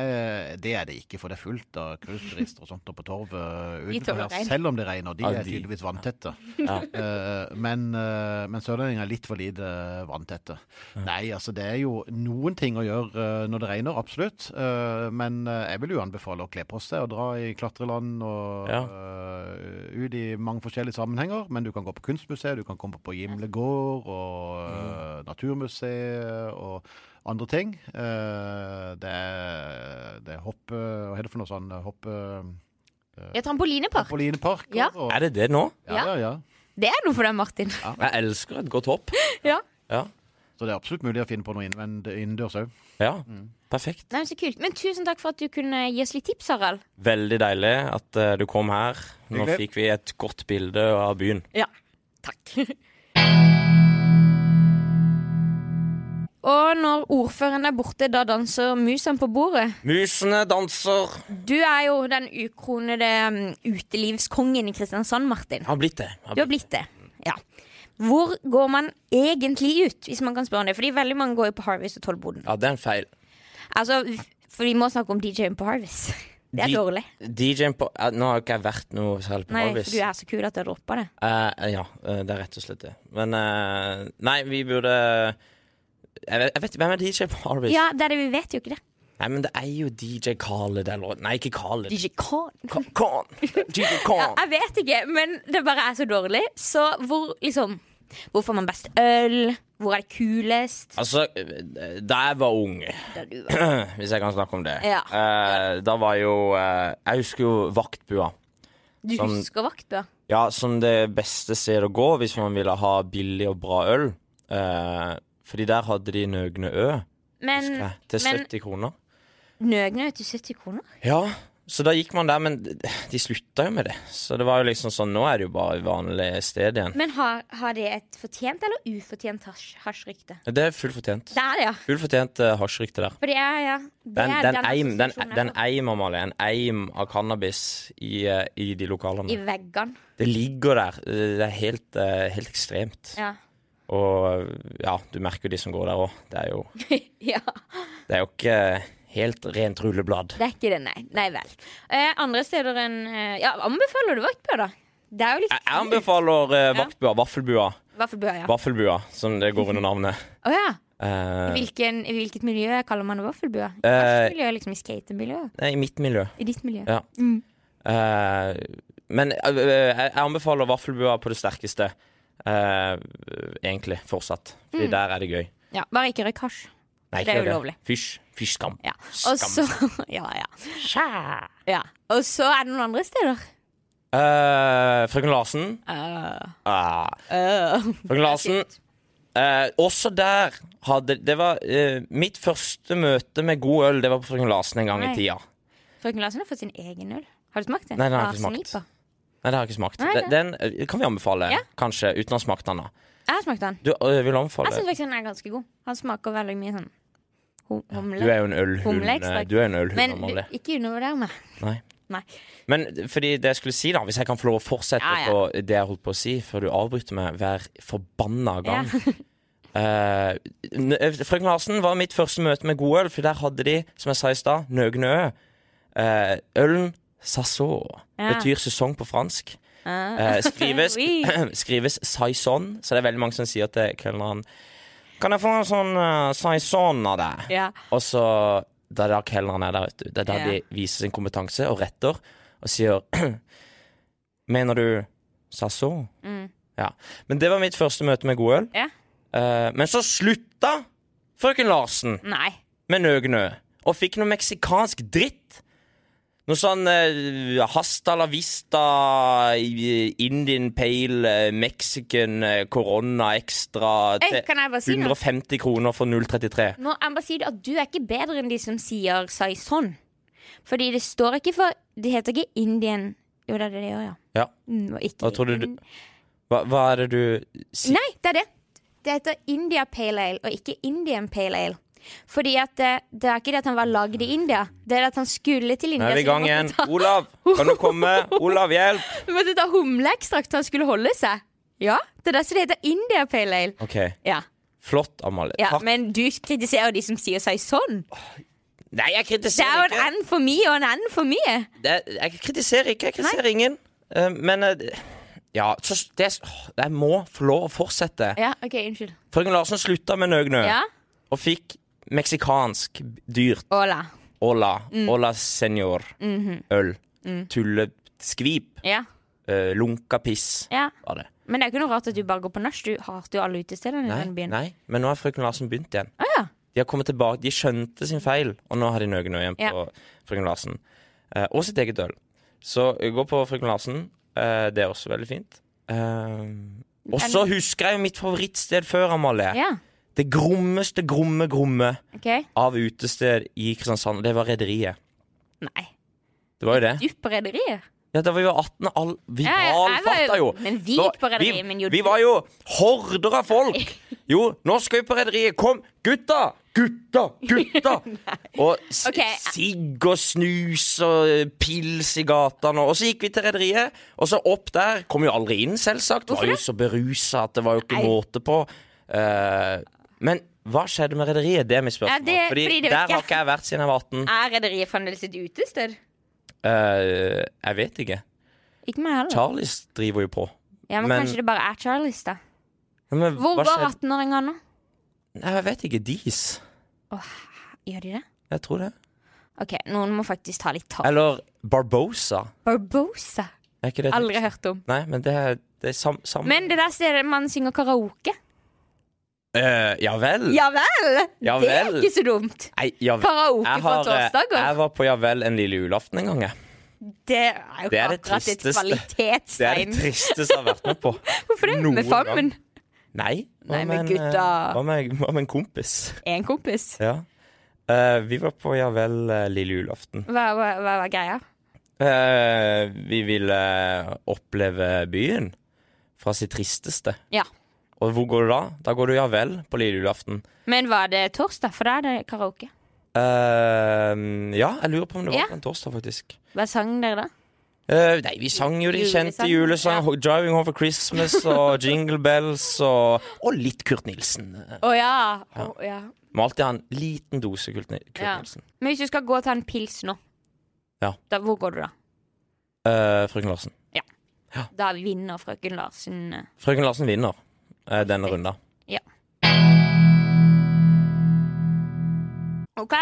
Speaker 3: det er det ikke, for det er fullt av cruiseturister og sånt oppe på torvet
Speaker 2: I
Speaker 3: utenfor
Speaker 2: torvregn.
Speaker 3: her, selv om det regner. De
Speaker 1: Ja,
Speaker 3: er
Speaker 1: de-
Speaker 3: tydeligvis vanntette.
Speaker 1: Ja.
Speaker 3: Eh, men uh, men sørlendinger er litt for lite vanntette. Nei, altså det er jo noen ting å gjøre eh, når det regner, absolutt. Eh, men eh, jeg vil jo anbefale å kle på seg og dra i klatreland og
Speaker 1: Ja.
Speaker 3: eh, ut i mange forskjellige sammenhenger. Men du kan gå på kunstmuseet, du kan komme på Gimle gård og
Speaker 1: Mm.
Speaker 3: eh, Naturmuseet og andre ting. Eh, det er, det er hoppe... Hva heter det for noe sånn hoppe...
Speaker 2: Ja, trampolinepark.
Speaker 3: Trampolineparker.
Speaker 2: Ja.
Speaker 3: og-
Speaker 1: Er det det nå?
Speaker 3: ja, ja, ja.
Speaker 2: Det er noe for deg, Martin.
Speaker 1: Jeg elsker et godt hopp.
Speaker 2: Ja.
Speaker 1: Ja.
Speaker 3: Så det er absolutt mulig å finne på noe innvend- innendørs òg.
Speaker 1: ja.
Speaker 2: Mm.
Speaker 1: Perfekt.
Speaker 2: Nei, men så kult. Men tusen takk for at du kunne gi oss litt tips, Harald.
Speaker 1: Veldig deilig at eh, du kom her. Nå
Speaker 3: Hyggelig.
Speaker 1: fikk vi et godt bilde av byen.
Speaker 2: Ja. Takk. Og når ordføreren er borte, da danser musen på bordet.
Speaker 1: Musene danser.
Speaker 2: Du er jo den ukronede mm, utelivskongen i Kristiansand, Martin.
Speaker 1: Har blitt det. Har
Speaker 2: Du har blitt det. Ja. Hvor går man egentlig ut, hvis man kan spørre om det? Fordi veldig mange går jo på Harvest og Tollboden.
Speaker 1: Ja, det er en feil.
Speaker 2: Altså, for vi må snakke om DJ-en på Harvest. Det er
Speaker 1: De-
Speaker 2: dårlig.
Speaker 1: DJ-en på eh, Nå har ikke jeg vært noe særlig på
Speaker 2: Nei,
Speaker 1: Harvis.
Speaker 2: for du er så kul at du har droppa det.
Speaker 1: Eh, ja, eh, det er rett og slett det. Men eh, Nei, vi burde jeg vet, jeg vet Hvem er DJ på Harvis?
Speaker 2: Ja, det er det, vi vet jo ikke det.
Speaker 1: Nei, men det er jo DJ Khaled eller Nei, ikke Khaled.
Speaker 2: DJ Khan.
Speaker 1: Ka- Khan. DJ
Speaker 2: Ja,
Speaker 1: Khan.
Speaker 2: jeg vet ikke, men det bare er så dårlig. Så hvor liksom Hvor får man best øl? Hvor er det kulest?
Speaker 1: Altså, eh, da jeg var ung
Speaker 2: Da du var-
Speaker 1: hvis jeg kan snakke om det.
Speaker 2: Ja.
Speaker 1: Eh, da var jo eh, Jeg husker jo Vaktbua.
Speaker 2: Du
Speaker 1: Som-
Speaker 2: husker vaktbua?
Speaker 1: Ja, som det beste stedet å gå hvis man ville ha billig og bra øl. Eh, fordi der hadde de Nøgne Ø
Speaker 2: Men
Speaker 1: husker jeg, til
Speaker 2: men-
Speaker 1: 70 kroner.
Speaker 2: nøgne er til 70 kroner?
Speaker 1: Ja, så da gikk man der, men de slutta jo med det. Så det var jo liksom sånn Nå er det jo bare et vanlig sted igjen.
Speaker 2: Men har, har det et fortjent eller ufortjent hasj- hasjrykte?
Speaker 1: Det er fullt fortjent.
Speaker 2: Det er det, ja.
Speaker 1: Fullt fortjent eh, hasjrykte der.
Speaker 2: For det er ja. Det
Speaker 1: Den,
Speaker 2: er
Speaker 1: den,
Speaker 2: den
Speaker 1: eim, den, e-
Speaker 2: assosiasjonen jeg
Speaker 1: den
Speaker 2: får.
Speaker 1: eim, Amalie. En eim av cannabis i, eh, i de
Speaker 2: I
Speaker 1: lokalene.
Speaker 2: veggene.
Speaker 1: Det ligger der. Eh, Det er helt, eh, helt ekstremt.
Speaker 2: Ja.
Speaker 1: Og ja, du merker jo de som går der òg. Det, er jo-
Speaker 2: ja.
Speaker 1: det er jo ikke eh, helt rent rulleblad.
Speaker 2: Det er ikke det, nei. Nei vel. Eh, andre steder enn eh, Ja, anbefaler du vaktbua, da? Det er jo
Speaker 1: Jeg
Speaker 2: litt
Speaker 1: anbefaler eh,
Speaker 2: Ja.
Speaker 1: vaktbua, vaffelbua,
Speaker 2: Vaffelbua, ja.
Speaker 1: vaffelbua, som det går under navnet.
Speaker 2: Å ja.
Speaker 1: Eh,
Speaker 2: Hvilken, I hvilket miljø kaller man det vaffelbua? I
Speaker 1: Eh,
Speaker 2: miljø, liksom i skatemiljøet?
Speaker 1: nei, I mitt miljø.
Speaker 2: I ditt miljø?
Speaker 1: Ja.
Speaker 2: Mm.
Speaker 1: Eh, men eh, eh, jeg anbefaler vaffelbua på det sterkeste. eh, egentlig fortsatt. Fordi der er det gøy.
Speaker 2: ja. Bare ikke røyk hasj.
Speaker 1: Nei,
Speaker 2: Mm. Det er
Speaker 1: ikke gjør
Speaker 2: ulovlig.
Speaker 1: Fysj. Fysj, skam.
Speaker 2: Ja. Og så
Speaker 1: Skam.
Speaker 2: ja, ja. ja. Og så er det noen andre steder.
Speaker 1: Eh, Frøken Larsen.
Speaker 2: Uh,
Speaker 1: Ah.
Speaker 2: uh.
Speaker 1: Frøken Larsen. Eh, også der hadde Det var eh, mitt første møte med god øl. Det var på Frøken Larsen en gang
Speaker 2: Nei.
Speaker 1: i tida.
Speaker 2: Frøken Larsen har fått sin egen øl. Har du smakt den?
Speaker 1: Nei, den har jeg ikke
Speaker 2: Larsen
Speaker 1: smakt.
Speaker 2: IPA.
Speaker 1: Nei, det har jeg ikke smakt.
Speaker 2: Nei, nei.
Speaker 1: Den, den kan vi anbefale,
Speaker 2: Ja.
Speaker 1: kanskje, uten å ha smakt den. da.
Speaker 2: Jeg har smakt den.
Speaker 1: Du øh, vil
Speaker 2: Jeg
Speaker 1: anbefale
Speaker 2: syns faktisk den er ganske god. Han smaker veldig mye sånn hum-
Speaker 1: Du
Speaker 2: humle.
Speaker 1: er jo en ølhund.
Speaker 2: Humleekstrakt.
Speaker 1: eh, Du er jo en ølhund,
Speaker 2: Men du,
Speaker 1: Amalie.
Speaker 2: ikke undervurder meg.
Speaker 1: Nei.
Speaker 2: Nei.
Speaker 1: Men fordi det jeg skulle si, da, hvis jeg kan få lov å fortsette
Speaker 2: Ja, ja.
Speaker 1: på det jeg holdt på å si før du avbryter meg hver forbanna gang Eh, n- eh, Frøken Larsen var mitt første møte med god øl, for der hadde de, som jeg sa i stad, Nøgne Ø. Eh, ølen saison
Speaker 2: Ja.
Speaker 1: betyr sesong på fransk.
Speaker 2: Ja.
Speaker 1: Eh, skrives
Speaker 2: Oui.
Speaker 1: skrives saison, så det er veldig mange som sier til kelneren Kan jeg få en sånn eh, saison av deg?
Speaker 2: Ja.
Speaker 1: Og så Det er da kelneren er der, vet du. Det er da
Speaker 2: Ja.
Speaker 1: de viser sin kompetanse og retter og sier Mener du Sasso?
Speaker 2: Mm.
Speaker 1: Ja. Men det var mitt første møte med god øl.
Speaker 2: Ja.
Speaker 1: Eh, men så slutta frøken Larsen
Speaker 2: Nei.
Speaker 1: med Nøgnø og fikk noe meksikansk dritt. Noe sånn eh, hasta la vista, i- Indian pale, eh, Mexican, eh, corona extra
Speaker 2: Hey,
Speaker 1: til
Speaker 2: Eh, kan jeg bare si noe?
Speaker 1: 150 kroner for 0,33.
Speaker 2: Nå jeg bare sier det at du er ikke bedre enn de som sier saison. Fordi det står ikke for Det heter ikke Indian Jo, det er det det gjør, ja.
Speaker 1: Ja.
Speaker 2: Mm, og ikke
Speaker 1: Hva trodde du-
Speaker 2: Indian-
Speaker 1: Hva, hva er det du sier?
Speaker 2: Nei, det er det. Det heter India Pale Ale, og ikke Indian Pale Ale. Fordi at det, det er ikke det at han var lagd i India, det er det at han skulle til
Speaker 1: Nå
Speaker 2: India.
Speaker 1: er vi i
Speaker 2: så de
Speaker 1: gang igjen.
Speaker 2: måtte ta-
Speaker 1: Olav, kan du komme? Olav, hjelp!
Speaker 2: Vi måtte ta humleekstrakt så han skulle holde seg. Ja, Det er derfor det heter India Pale Ale.
Speaker 1: OK.
Speaker 2: Ja,
Speaker 1: Flott, Amalie.
Speaker 2: ja
Speaker 1: Takk.
Speaker 2: Men du kritiserer de som sier seg sånn.
Speaker 1: Nei, jeg
Speaker 2: Det er jo
Speaker 1: kritiserer
Speaker 2: en
Speaker 1: ikke.
Speaker 2: N for mye og en N for mye.
Speaker 1: Det, jeg kritiserer ikke, jeg kritiserer ingen. Eh, men eh, ja, så s- det, s- åh, jeg må få lov å fortsette.
Speaker 2: Ja, OK, unnskyld.
Speaker 1: Frøken Larsen slutta med nøgnø
Speaker 2: Ja?
Speaker 1: og fikk meksikansk dyrt
Speaker 2: Hola.
Speaker 1: Ola.
Speaker 2: Mm.
Speaker 1: Ola senior.
Speaker 2: Mhm.
Speaker 1: Øl. Tulleskvip.
Speaker 2: Ja.
Speaker 1: eh, lunka piss
Speaker 2: ja.
Speaker 1: var det.
Speaker 2: Men det er jo ikke noe rart at du bare går på nach. Du hater jo alle utestedene i
Speaker 1: Nei,
Speaker 2: den byen.
Speaker 1: nei, men nå har frøken Larsen begynt igjen.
Speaker 2: Å ja.
Speaker 1: De har kommet tilbake, de skjønte sin feil, og nå har de nøgne igjen på frøken Larsen. Eh, og sitt eget øl. Så eh, gå på frøken Larsen. Eh, det er også veldig fint. Eh, og så husker jeg jo mitt favorittsted før, Amalie.
Speaker 2: ja.
Speaker 1: Det grommeste gromme gromme
Speaker 2: OK.
Speaker 1: av utested i Kristiansand. Det var Rederiet.
Speaker 2: Nei.
Speaker 1: Det var jo det.
Speaker 2: Du på rederiet?
Speaker 1: Ja, da var vi jo 18 og all, Vi
Speaker 2: Ja, ja, jeg var jo-
Speaker 1: valfarta jo.
Speaker 2: men vi
Speaker 1: Da-
Speaker 2: gikk på rederiet, men jo,
Speaker 1: Vi
Speaker 2: du-
Speaker 1: var jo horder av folk. Jo, nå skal vi på rederiet. Kom, gutta! Gutta! Gutta! og s-
Speaker 2: Ok.
Speaker 1: sigg og snus og eh, pils i gatene. Og så gikk vi til rederiet, og så opp der. Kom jo aldri inn, selvsagt.
Speaker 2: Hvorfor
Speaker 1: Var jo så berusa at det var jo ikke
Speaker 2: Nei.
Speaker 1: måte på. Eh, men hva skjedde med rederiet? Det er mitt spørsmål.
Speaker 2: Ja, det-
Speaker 1: fordi
Speaker 2: fordi det vet
Speaker 1: der
Speaker 2: jeg.
Speaker 1: har ikke jeg vært siden jeg var 18.
Speaker 2: Er rederiet fremdeles et utested?
Speaker 1: Eh, jeg vet ikke.
Speaker 2: Ikke meg heller.
Speaker 1: Charlies driver jo på.
Speaker 2: Ja, men,
Speaker 1: men-
Speaker 2: kanskje det bare er Charlies, da.
Speaker 1: Ja, Men,
Speaker 2: Hvor
Speaker 1: hva
Speaker 2: var
Speaker 1: skjedde?
Speaker 2: 18-åringer nå?
Speaker 1: Nei, jeg vet ikke. Dis.
Speaker 2: Gjør de det?
Speaker 1: Jeg tror det.
Speaker 2: OK, noen må faktisk ta litt tak.
Speaker 1: Eller Barbosa.
Speaker 2: Barbosa.
Speaker 1: Er ikke det et
Speaker 2: Aldri
Speaker 1: tips?
Speaker 2: hørt om.
Speaker 1: Nei, men det er, det er sam... sam
Speaker 2: Men det der stedet man synger karaoke.
Speaker 1: Eh, ja vel.
Speaker 2: Ja vel!
Speaker 1: Ja
Speaker 2: Det er
Speaker 1: vel.
Speaker 2: ikke så dumt.
Speaker 1: Nei, ja vel.
Speaker 2: Karaoke
Speaker 1: Jeg,
Speaker 2: på
Speaker 1: har, eh,
Speaker 2: torsdager.
Speaker 1: jeg var på Ja vel en lille julaften en gang, jeg.
Speaker 2: Det er jo
Speaker 1: Det er
Speaker 2: ikke
Speaker 1: det
Speaker 2: akkurat et
Speaker 1: tristeste. Det er
Speaker 2: kvalitetstegn.
Speaker 1: det tristeste jeg har vært med på.
Speaker 2: Hvorfor det?
Speaker 1: noen
Speaker 2: Med fammen?
Speaker 1: Nei. hva
Speaker 2: Nei, men
Speaker 1: en, eh,
Speaker 2: gutta.
Speaker 1: Hva med, hva med en kompis?
Speaker 2: En kompis.
Speaker 1: Ja. Eh, vi var på Ja vel eh, lille julaften.
Speaker 2: Hva, hva, hva var greia?
Speaker 1: Eh, vi ville oppleve byen fra sitt tristeste.
Speaker 2: Ja.
Speaker 1: Og hvor går du da? Da går du Ja vel på lille julaften.
Speaker 2: Men var det torsdag? For da er det karaoke.
Speaker 1: Ehm, ja, jeg lurer på om det var
Speaker 2: Ja.
Speaker 1: på en torsdag, faktisk.
Speaker 2: Hva sang dere da?
Speaker 1: Eh, nei, vi sang jo de kjente julesangene.
Speaker 2: Julesang. Ja.
Speaker 1: Ho- 'Driving Home for Christmas' og 'Jingle Bells' og, og litt Kurt Nilsen. Eh,
Speaker 2: Å ja. Å, ja.
Speaker 1: Må alltid ha en liten dose Kurt, Ni- Kurt
Speaker 2: Ja.
Speaker 1: Nilsen.
Speaker 2: Men hvis du skal gå og ta en pils nå,
Speaker 1: Ja.
Speaker 2: da, hvor går du da?
Speaker 1: Eh, Frøken Larsen.
Speaker 2: Da vinner frøken Larsen. eh.
Speaker 1: Frøken Larsen vinner eh, denne runda.
Speaker 2: OK.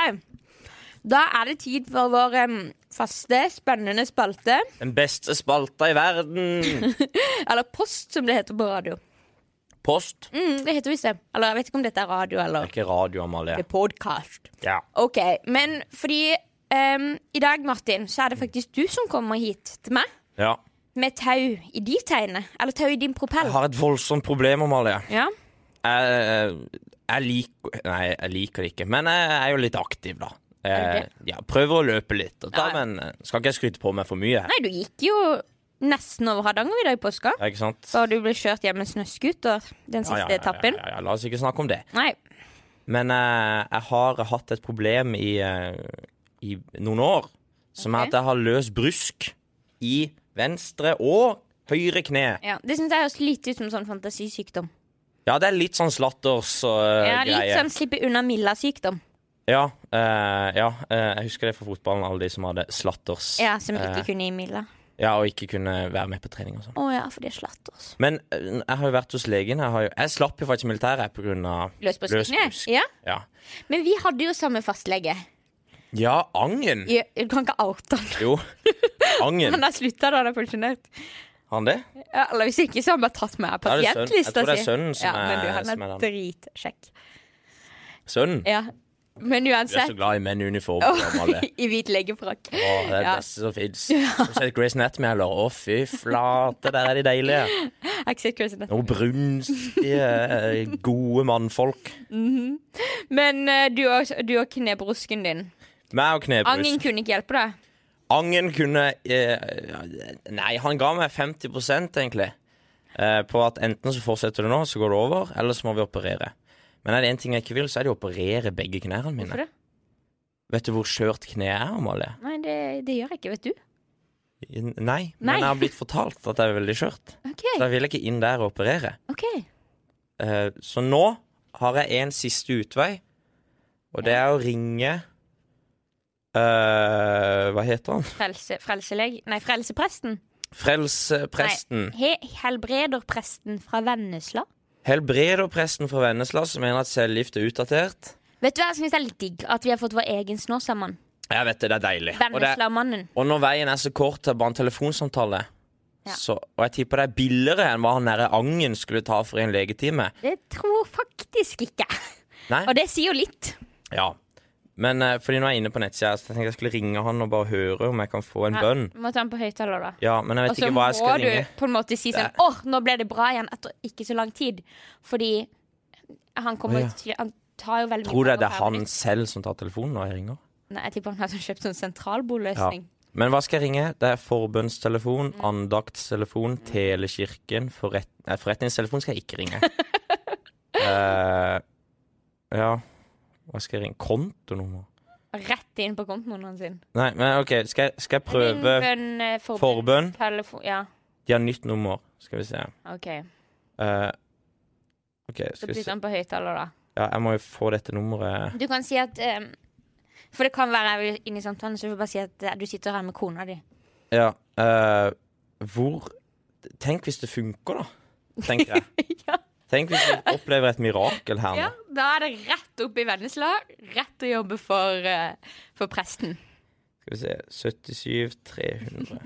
Speaker 2: Da er det tid for vår em, faste, spennende spalte.
Speaker 1: Den beste spalta i verden!
Speaker 2: Eller post, som det heter på radio.
Speaker 1: Post.
Speaker 2: Mm, det heter visst det. Eller jeg vet ikke om dette er radio
Speaker 1: Det
Speaker 2: eller
Speaker 1: er ikke radio, Amalie.
Speaker 2: det er podkast.
Speaker 1: Ja.
Speaker 2: OK. Men fordi em, i dag, Martin, så er det faktisk du som kommer hit til meg
Speaker 1: ja.
Speaker 2: med tau i de teiene. Eller tau i din
Speaker 1: Jeg
Speaker 2: propell.
Speaker 1: har et voldsomt problem, Amalie.
Speaker 2: Ja.
Speaker 1: jeg, jeg liker Nei, jeg liker det ikke, men jeg er jo litt aktiv, da.
Speaker 2: Er
Speaker 1: Jeg,
Speaker 2: du
Speaker 1: ja, prøver å løpe litt, og da,
Speaker 2: Ja, ja.
Speaker 1: men eh, skal ikke jeg skryte på meg for mye her.
Speaker 2: Nei, du gikk jo nesten over Hardangervidda i påska.
Speaker 1: Ja, Ikke sant?
Speaker 2: Da du ble kjørt hjem med snøscooter den
Speaker 1: Ja,
Speaker 2: siste
Speaker 1: ja, ja,
Speaker 2: etappen.
Speaker 1: Ja, ja, ja, la oss ikke snakke om det.
Speaker 2: Nei.
Speaker 1: Men eh, jeg har hatt et problem i, eh, i noen år, som
Speaker 2: Ok.
Speaker 1: er at jeg har løs brusk i venstre og høyre kne.
Speaker 2: Ja. Det syns jeg høres litt ut som sånn fantasisykdom.
Speaker 1: Ja, det er litt sånn slatters og eh,
Speaker 2: Ja, litt
Speaker 1: greie.
Speaker 2: sånn slippe unna Milla-sykdom.
Speaker 1: Ja, eh, ja eh, jeg husker det fra fotballen, alle de som hadde slatters.
Speaker 2: Ja, Som ikke
Speaker 1: Eh,
Speaker 2: kunne gi Milla.
Speaker 1: ja, og ikke kunne være med på trening og sånn.
Speaker 2: Å ja, for det er slatters.
Speaker 1: Men eh, jeg har jo vært hos legen. Jeg, har jo, jeg slapp jo faktisk militæret pga.
Speaker 2: Løs på skene.
Speaker 1: Løsbusk.
Speaker 2: Ja.
Speaker 1: Ja.
Speaker 2: Men vi hadde jo samme fastlege.
Speaker 1: ja, Angen.
Speaker 2: Ja, Du kan ikke oute han.
Speaker 1: Jo. Angen.
Speaker 2: Han har slutta da han er pensjonert.
Speaker 1: Har han det?
Speaker 2: Ja, Eller hvis ikke, så har han bare tatt med av
Speaker 1: Da er det sønnen- jeg
Speaker 2: pasientlista
Speaker 1: tror det er sønnen som
Speaker 2: ja, men du,
Speaker 1: er-
Speaker 2: han
Speaker 1: som
Speaker 2: er
Speaker 1: er den.
Speaker 2: dritsjekk.
Speaker 1: Sønnen.
Speaker 2: Ja. Men
Speaker 1: Jeg er så
Speaker 2: uansett,
Speaker 1: glad i menn i uniform. og alle.
Speaker 2: i hvit legefrakk.
Speaker 1: Å, det er det
Speaker 2: Ja.
Speaker 1: beste som fins. Har du sett Grace Anatomy, eller? Å, fy flate, der er de deilige.
Speaker 2: Jeg har ikke sett kursen
Speaker 1: Noen brunstige, eh, gode mannfolk.
Speaker 2: Men eh, du og, du og knebrusken din.
Speaker 1: Meg og
Speaker 2: Angen
Speaker 1: knebrus.
Speaker 2: kunne ikke hjelpe deg.
Speaker 1: Angen kunne eh, Nei, han ga meg 50 egentlig. Eh, på at enten så fortsetter det nå, så går det over, eller så må vi operere. Men er det én ting jeg ikke vil, så er det å operere begge knærne mine.
Speaker 2: Hvorfor det?
Speaker 1: Vet du hvor skjørt kneet er, Amalie?
Speaker 2: Nei, det, det gjør jeg ikke, vet du.
Speaker 1: I- Nei,
Speaker 2: Nei.
Speaker 1: men jeg har blitt fortalt at det er veldig skjørt.
Speaker 2: OK.
Speaker 1: Så jeg vil ikke inn der og operere.
Speaker 2: ok
Speaker 1: Eh, så nå har jeg en siste utvei, og det er å ringe eh, Hva heter han?
Speaker 2: Frelse, frelseleg... Nei, frelsepresten.
Speaker 1: Frelsepresten.
Speaker 2: He, helbrederpresten fra Vennesla.
Speaker 1: Helbrederpresten fra Vennesla som mener at cellegift er utdatert.
Speaker 2: Vet du hva jeg syns er litt digg? At vi har fått vår egen Snåsamann.
Speaker 1: Jeg vet det, det er deilig. Og, det,
Speaker 2: Venneslamannen.
Speaker 1: og når veien er så kort til bare en telefonsamtale
Speaker 2: Ja.
Speaker 1: så, Og jeg tipper det er billigere enn hva han derre Angen skulle ta for i en legetime.
Speaker 2: Det tror faktisk ikke.
Speaker 1: Nei?
Speaker 2: Og det sier jo litt.
Speaker 1: Ja. Men eh, fordi nå er jeg inne på nettsida, så jeg tenkte jeg skulle ringe han og bare høre om jeg kan få en
Speaker 2: Nei,
Speaker 1: bønn.
Speaker 2: Må ta den på høyttaler, da.
Speaker 1: Ja, men jeg
Speaker 2: Og
Speaker 1: vet
Speaker 2: så
Speaker 1: ikke
Speaker 2: må
Speaker 1: hva jeg skal
Speaker 2: du
Speaker 1: ringe.
Speaker 2: på en måte si sånn
Speaker 1: Det
Speaker 2: Å, nå ble det bra igjen etter ikke så lang tid. Fordi han
Speaker 1: Å,
Speaker 2: kommer
Speaker 1: ja.
Speaker 2: til Han tar jo veldig
Speaker 1: Tror du
Speaker 2: penger
Speaker 1: det er
Speaker 2: per
Speaker 1: han
Speaker 2: minutt.
Speaker 1: selv som tar telefonen når jeg ringer?
Speaker 2: Nei, jeg tipper han har sånn kjøpt sånn sentralboløsning.
Speaker 1: Men hva skal jeg ringe? Det er forbønnstelefon, andaktstelefon, telekirken forret Nei, forretningstelefon skal jeg ikke ringe. Eh, ja Hva skal jeg ringe? Kontonummer?
Speaker 2: Rett inn på kontoen hans. sin.
Speaker 1: Nei, men OK, skal jeg, skal jeg
Speaker 2: Ring,
Speaker 1: prøve
Speaker 2: bønn, eh, forbønn,
Speaker 1: forbønn?
Speaker 2: telefon- Ja,
Speaker 1: De har nytt nummer, skal vi se.
Speaker 2: OK.
Speaker 1: Eh, OK,
Speaker 2: Så
Speaker 1: skal vi
Speaker 2: putter
Speaker 1: se.
Speaker 2: han på høyttaler, da.
Speaker 1: Ja, jeg må jo få dette nummeret.
Speaker 2: Du kan si at eh, For det kan være jeg vil inn i samtalen, så du får bare si at eh, du sitter her med kona di.
Speaker 1: Ja. eh, hvor Tenk hvis det funker, da, tenker jeg.
Speaker 2: Ja.
Speaker 1: Tenk hvis vi opplever et mirakel her nå.
Speaker 2: Ja, da er det rett opp i Vennesla. Rett å jobbe for, eh, for presten.
Speaker 1: Skal vi se 77 300.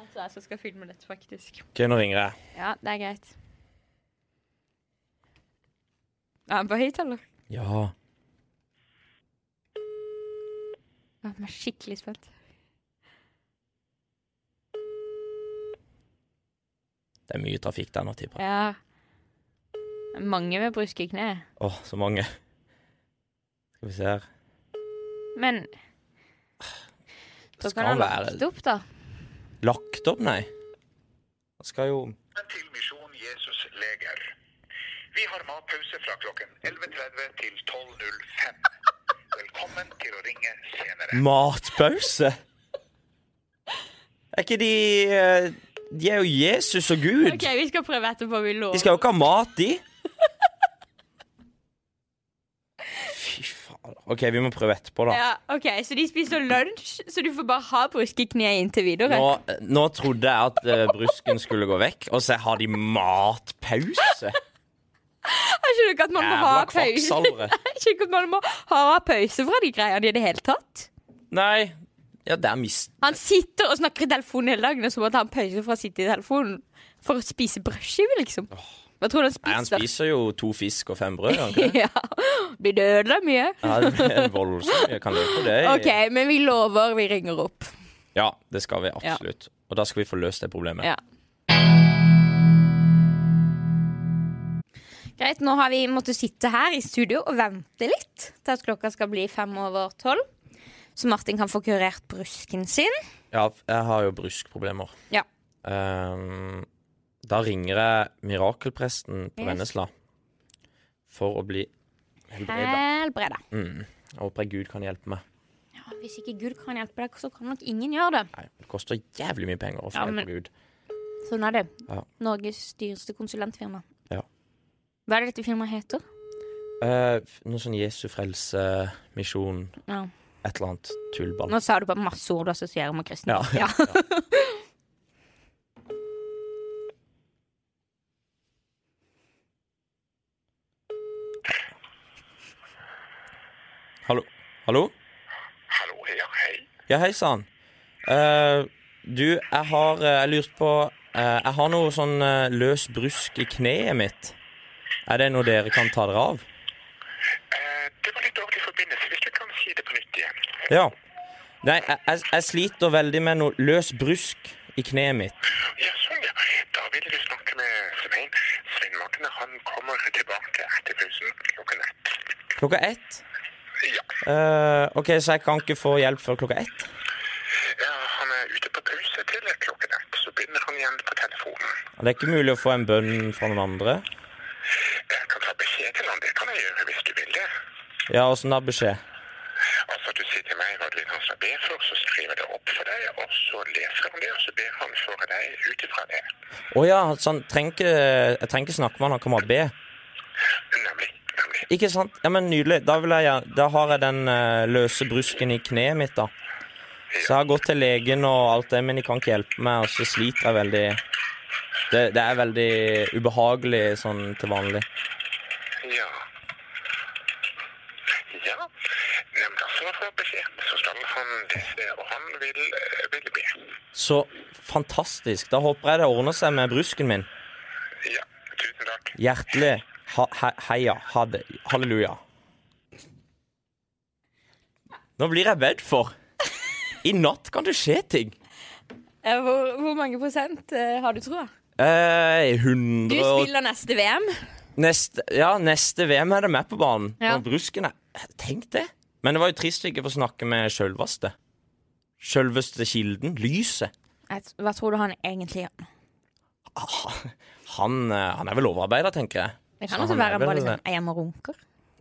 Speaker 2: Jeg tror jeg skal filme dette, faktisk.
Speaker 1: OK, nå ringer jeg.
Speaker 2: Ja, det er greit. Er han på høyttaler?
Speaker 1: Ja.
Speaker 2: Jeg er skikkelig spent.
Speaker 1: Det er mye trafikk der nå, tipper jeg.
Speaker 2: Ja. Mange med bruske kne.
Speaker 1: Åh, så mange. Skal vi se her.
Speaker 2: Men så
Speaker 1: Det
Speaker 2: kan han
Speaker 1: skal
Speaker 2: være...
Speaker 1: være
Speaker 2: opp, da.
Speaker 1: lagt opp, nei. Det skal jo
Speaker 4: til Misjon Jesus Leger. Vi har matpause fra klokken 11.30 til 12.05. Velkommen til å ringe senere.
Speaker 1: Matpause! Er ikke de eh, De er jo Jesus og Gud.
Speaker 2: OK, vi skal prøve etterpå. Vi
Speaker 1: De
Speaker 2: lover.
Speaker 1: skal jo ikke ha mat, de. Fy faen. OK, vi må prøve etterpå, da.
Speaker 2: Ja, ok, Så de spiser lunsj, så du får bare ha bruske kne inntil videre?
Speaker 1: Nå, nå trodde jeg at eh, brusken skulle gå vekk, og så har de matpause.
Speaker 2: Jeg skjønner ikke at man må
Speaker 1: Jævla
Speaker 2: ha pause.
Speaker 1: kvakksalvere.
Speaker 2: Jeg skjønner ikke at man må ha pause fra de greiene i det hele tatt.
Speaker 1: Nei. Ja, der mist...
Speaker 2: Han sitter og snakker i telefonen hele dagen, og så må han ta en pause fra å sitte i telefonen for å spise brødskive, liksom. Hva tror du han
Speaker 1: Nei, han
Speaker 2: spiser?
Speaker 1: spiser jo to fisk og fem brød. gjør Han ikke det?
Speaker 2: ja. Blir det ødelagt mye?
Speaker 1: ja, det blir voldsomt. Jeg kan løpe det. i-
Speaker 2: OK, men vi lover vi ringer opp.
Speaker 1: Ja, det skal vi absolutt. Og da skal vi få løst det problemet.
Speaker 2: Ja. Greit, nå har vi måttet sitte her i studio og vente litt til at klokka skal bli fem over tolv. Så Martin kan få kurert brusken sin.
Speaker 1: Ja, jeg har jo bruskproblemer.
Speaker 2: Ja.
Speaker 1: Ehm, da ringer jeg mirakelpresten på
Speaker 2: Yes.
Speaker 1: Vennesla for å bli helbreda.
Speaker 2: Helbreda.
Speaker 1: Mm. Jeg håper Gud kan hjelpe meg.
Speaker 2: Ja, hvis ikke Gud kan hjelpe deg, så kan nok ingen gjøre det.
Speaker 1: Nei, det koster jævlig mye penger å få
Speaker 2: Ja,
Speaker 1: hjelp
Speaker 2: men-
Speaker 1: av Gud.
Speaker 2: Sånn er det.
Speaker 1: Ja.
Speaker 2: Norges dyreste konsulentfirma.
Speaker 1: Ja.
Speaker 2: Hva er det dette firmaet heter?
Speaker 1: Eh, noe sånn Jesu frelse, misjon,
Speaker 2: Ja.
Speaker 1: et eller annet tullball.
Speaker 2: Nå sa du bare masse ord du assosierer med kristne.
Speaker 1: Ja.
Speaker 2: Ja.
Speaker 1: Hallo? Hallo?
Speaker 4: Hallo, ja, hei.
Speaker 1: Ja, hei sann. Eh, du, jeg har eh, Jeg lurte på eh, Jeg har noe sånn eh, løs brusk i kneet mitt. Er det noe dere kan ta dere av?
Speaker 4: Eh, det var litt dårlig forbindelse. Hvis du kan si det på nytt igjen.
Speaker 1: Ja. Nei, jeg, jeg, jeg sliter veldig med noe løs brusk i kneet mitt.
Speaker 4: Ja, sånn, ja. Da ville du snakke med Svein. Svein Martin, han kommer tilbake etter pausen klokken ett.
Speaker 1: Klokka ett?
Speaker 4: Ja.
Speaker 1: Eh, OK, så jeg kan ikke få hjelp før klokka ett?
Speaker 4: ja, han er ute på pause til klokken ett. Så begynner han igjen på telefonen.
Speaker 1: Det er ikke mulig å få en bønn fra noen andre?
Speaker 4: Jeg kan ta beskjed til han, det kan jeg gjøre hvis du vil det.
Speaker 1: Ja, åssen da beskjed?
Speaker 4: Altså, du sier til meg hva du vil han skal be for, så skriver jeg det opp for deg, og så leser han det, og så ber han for deg ut ifra det.
Speaker 1: sånn, Å ja, så han trenger ikke Jeg trenger ikke snakke med han, han kan bare be.
Speaker 4: Nemlig. nemlig.
Speaker 1: Ikke sant? Ja, men Nydelig. Da, vil jeg, gjerne- da har jeg den eh, løse brusken i kneet mitt, da. Så jeg har gått til legen og alt det, men de kan ikke hjelpe meg, og så sliter jeg veldig. Det, det er veldig ubehagelig sånn til vanlig.
Speaker 4: Ja. Ja. Nei, men da får han beskjed. Så skal han teste, og han vil, eh, vil be.
Speaker 1: Så fantastisk. Da håper jeg det ordner seg med brusken min.
Speaker 4: Ja, tusen takk.
Speaker 1: Hjertelig ha, he, heia. Ha det. Halleluja. Nå blir jeg bedt for. I natt kan det skje ting.
Speaker 2: Eh, Hvor, hvor mange prosent eh, har du troa?
Speaker 1: Eh,
Speaker 2: Du
Speaker 1: 100 og
Speaker 2: spiller neste VM.
Speaker 1: Neste, ja, neste VM er det med på banen.
Speaker 2: Ja.
Speaker 1: Og brusken er Tenk det! Men det var jo trist å ikke få snakke med sjølveste. Sjølveste kilden. Lyset.
Speaker 2: Et- Hva tror du han egentlig gjør?
Speaker 1: Ah, Han, eh, han er vel overarbeida, tenker jeg.
Speaker 2: Det
Speaker 1: Så
Speaker 2: kan også
Speaker 1: han er
Speaker 2: være han bare
Speaker 1: vel-
Speaker 2: liksom, er hjemme og runker.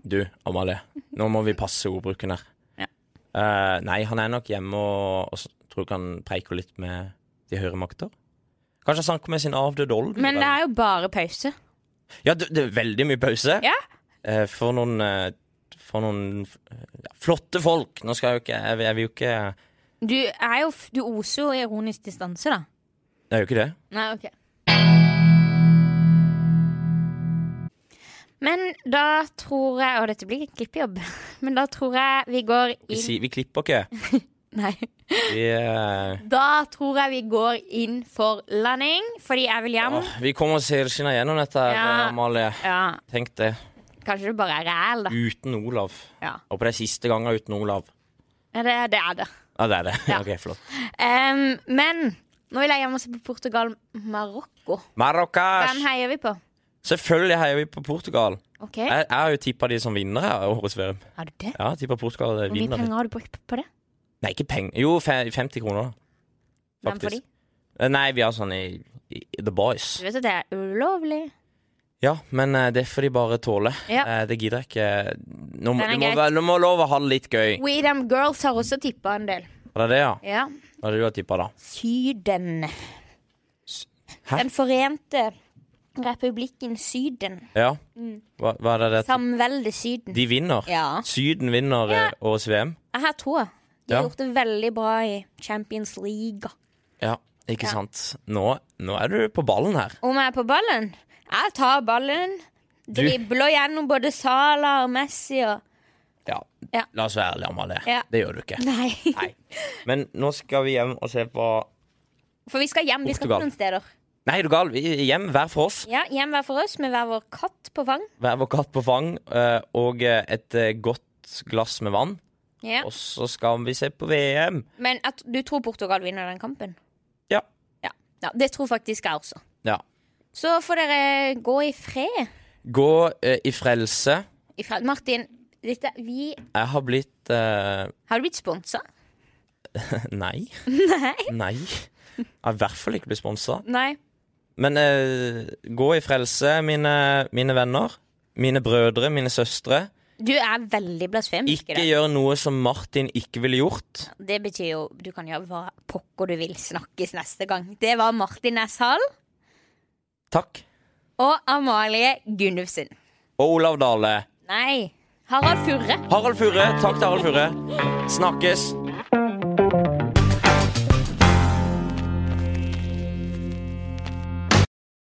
Speaker 1: Du, Amalie. Nå må vi passe ordbruken her.
Speaker 2: Ja.
Speaker 1: Eh, nei, han er nok hjemme og, og s- tror ikke han preiker litt med de høyere makter. Kanskje han snakker med sin avdøde olden.
Speaker 2: Men det er jo bare pause.
Speaker 1: Ja, det, det er veldig mye pause.
Speaker 2: Ja.
Speaker 1: Eh, for noen eh, For noen eh, flotte folk. Nå skal jeg jo ikke Jeg, jeg vil jo ikke
Speaker 2: Du, er jo, f- du oser jo ironisk distanse, da.
Speaker 1: Det er jo ikke det.
Speaker 2: Nei, ok. Men da tror jeg Og dette blir en klippejobb. Men da tror jeg vi går
Speaker 1: Vi,
Speaker 2: inn
Speaker 1: sier- vi klipper ikke.
Speaker 2: Nei.
Speaker 1: Vi, eh,
Speaker 2: Da tror jeg vi går inn for landing, fordi jeg vil hjem.
Speaker 1: åh, vi kommer oss helskinna gjennom dette, her,
Speaker 2: Ja.
Speaker 1: eh, Amalie.
Speaker 2: Ja,
Speaker 1: Tenk det.
Speaker 2: Kanskje det bare er ræl, da.
Speaker 1: Uten Olav.
Speaker 2: Ja.
Speaker 1: Og på det er siste gangen uten Olav.
Speaker 2: Ja, det, det er det.
Speaker 1: Ja, det er det.
Speaker 2: Ja.
Speaker 1: ok, flott.
Speaker 2: Em, men nå vil jeg hjem og se på Portugal-Marokko. Hvem
Speaker 1: Marokkash!
Speaker 2: heier vi på?
Speaker 1: Selvfølgelig heier vi på Portugal.
Speaker 2: Ok,
Speaker 1: Jeg, jeg har jo tippa de som vinner her årets VM.
Speaker 2: Har du det?
Speaker 1: Ja, jeg tippa Portugal eh,
Speaker 2: Hvor mye
Speaker 1: vinner.
Speaker 2: penger har du brukt på det?
Speaker 1: Nei, ikke penger. Jo, fe- 50 kroner, da.
Speaker 2: Hvem får de?
Speaker 1: Eh, Nei, vi har sånn i, i i The Boys.
Speaker 2: Du vet at det er ulovlig.
Speaker 1: Ja, men eh, det får de bare tåle.
Speaker 2: Ja.
Speaker 1: Eh, Det gidder jeg ikke. Nå må,
Speaker 2: Den er
Speaker 1: det må,
Speaker 2: greit. Mm.
Speaker 1: være- det må lov å ha det litt gøy.
Speaker 2: We Them Girls har også tippa en del.
Speaker 1: Var det det, ja?
Speaker 2: Ja.
Speaker 1: Hva er det du har tippa, da?
Speaker 2: Syden.
Speaker 1: Hæ?
Speaker 2: Den forente republikken Syden.
Speaker 1: Ja. Hva, hva er det det
Speaker 2: Samveldet Syden.
Speaker 1: De vinner.
Speaker 2: Mm. Ja.
Speaker 1: Syden vinner eh, årets VM.
Speaker 2: Jeg har troa. De
Speaker 1: Ja.
Speaker 2: har gjort det veldig bra i Champions League.
Speaker 1: Ja, ikke sant. Nå, nå er du på ballen her.
Speaker 2: Om jeg er på ballen? Jeg tar ballen.
Speaker 1: Du-
Speaker 2: Dribler gjennom både Sala og Messi og
Speaker 1: Ja.
Speaker 2: Ja.
Speaker 1: La oss være ærlige, Amalie.
Speaker 2: Ja.
Speaker 1: Det gjør du ikke.
Speaker 2: Nei.
Speaker 1: Nei. Men nå skal vi hjem og se på
Speaker 2: For vi skal hjem. Vi skal
Speaker 1: Portugal.
Speaker 2: ikke noen steder.
Speaker 1: Nei, er du gal. Vi- Hjem hver for oss.
Speaker 2: Ja, Hjem hver for oss med hver vår katt på fang.
Speaker 1: Hver vår katt på fang eh, og eh, et eh, godt glass med vann.
Speaker 2: Ja.
Speaker 1: Og så skal vi se på VM.
Speaker 2: Men at du tror Portugal vinner den kampen?
Speaker 1: Ja.
Speaker 2: Ja, ja Det tror faktisk jeg også.
Speaker 1: Ja.
Speaker 2: Så får dere gå i fred.
Speaker 1: Gå eh, i frelse.
Speaker 2: I fred. Martin, dette, vi
Speaker 1: Jeg har blitt eh,
Speaker 2: Har du blitt sponsa?
Speaker 1: Nei. Nei. Jeg har i hvert fall ikke blitt sponsa.
Speaker 2: Nei.
Speaker 1: Men eh, gå i frelse, mine, mine venner. Mine brødre, mine søstre.
Speaker 2: Du er veldig blasfemisk
Speaker 1: Ikke
Speaker 2: i dag.
Speaker 1: gjør noe som Martin ikke ville gjort.
Speaker 2: Det betyr jo du kan gjøre hva pokker du vil. Snakkes neste gang. Det var Martin Næss Hall
Speaker 1: Takk.
Speaker 2: og Amalie Gunnufsen.
Speaker 1: Og Olav Dale.
Speaker 2: Nei. Harald Furre.
Speaker 1: Harald Furre. Takk til Harald Furre. Snakkes.